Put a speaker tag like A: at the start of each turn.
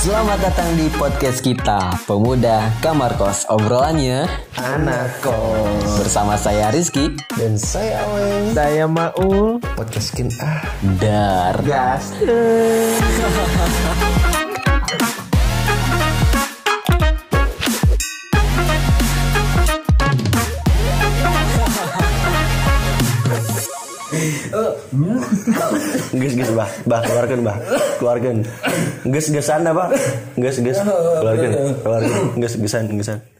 A: Selamat datang di podcast kita, Pemuda Kamar Kos. Obrolannya
B: Anak kos
A: bersama saya Rizky
B: Dan saya Aweng
C: Saya Maul
B: Podcast skin ah
A: Dar.
C: Gas
B: Ges ges bah Bah keluarkan bah Keluarkan Ges gesan apa Ges ges Keluarkan Keluarkan Ges gesan gesan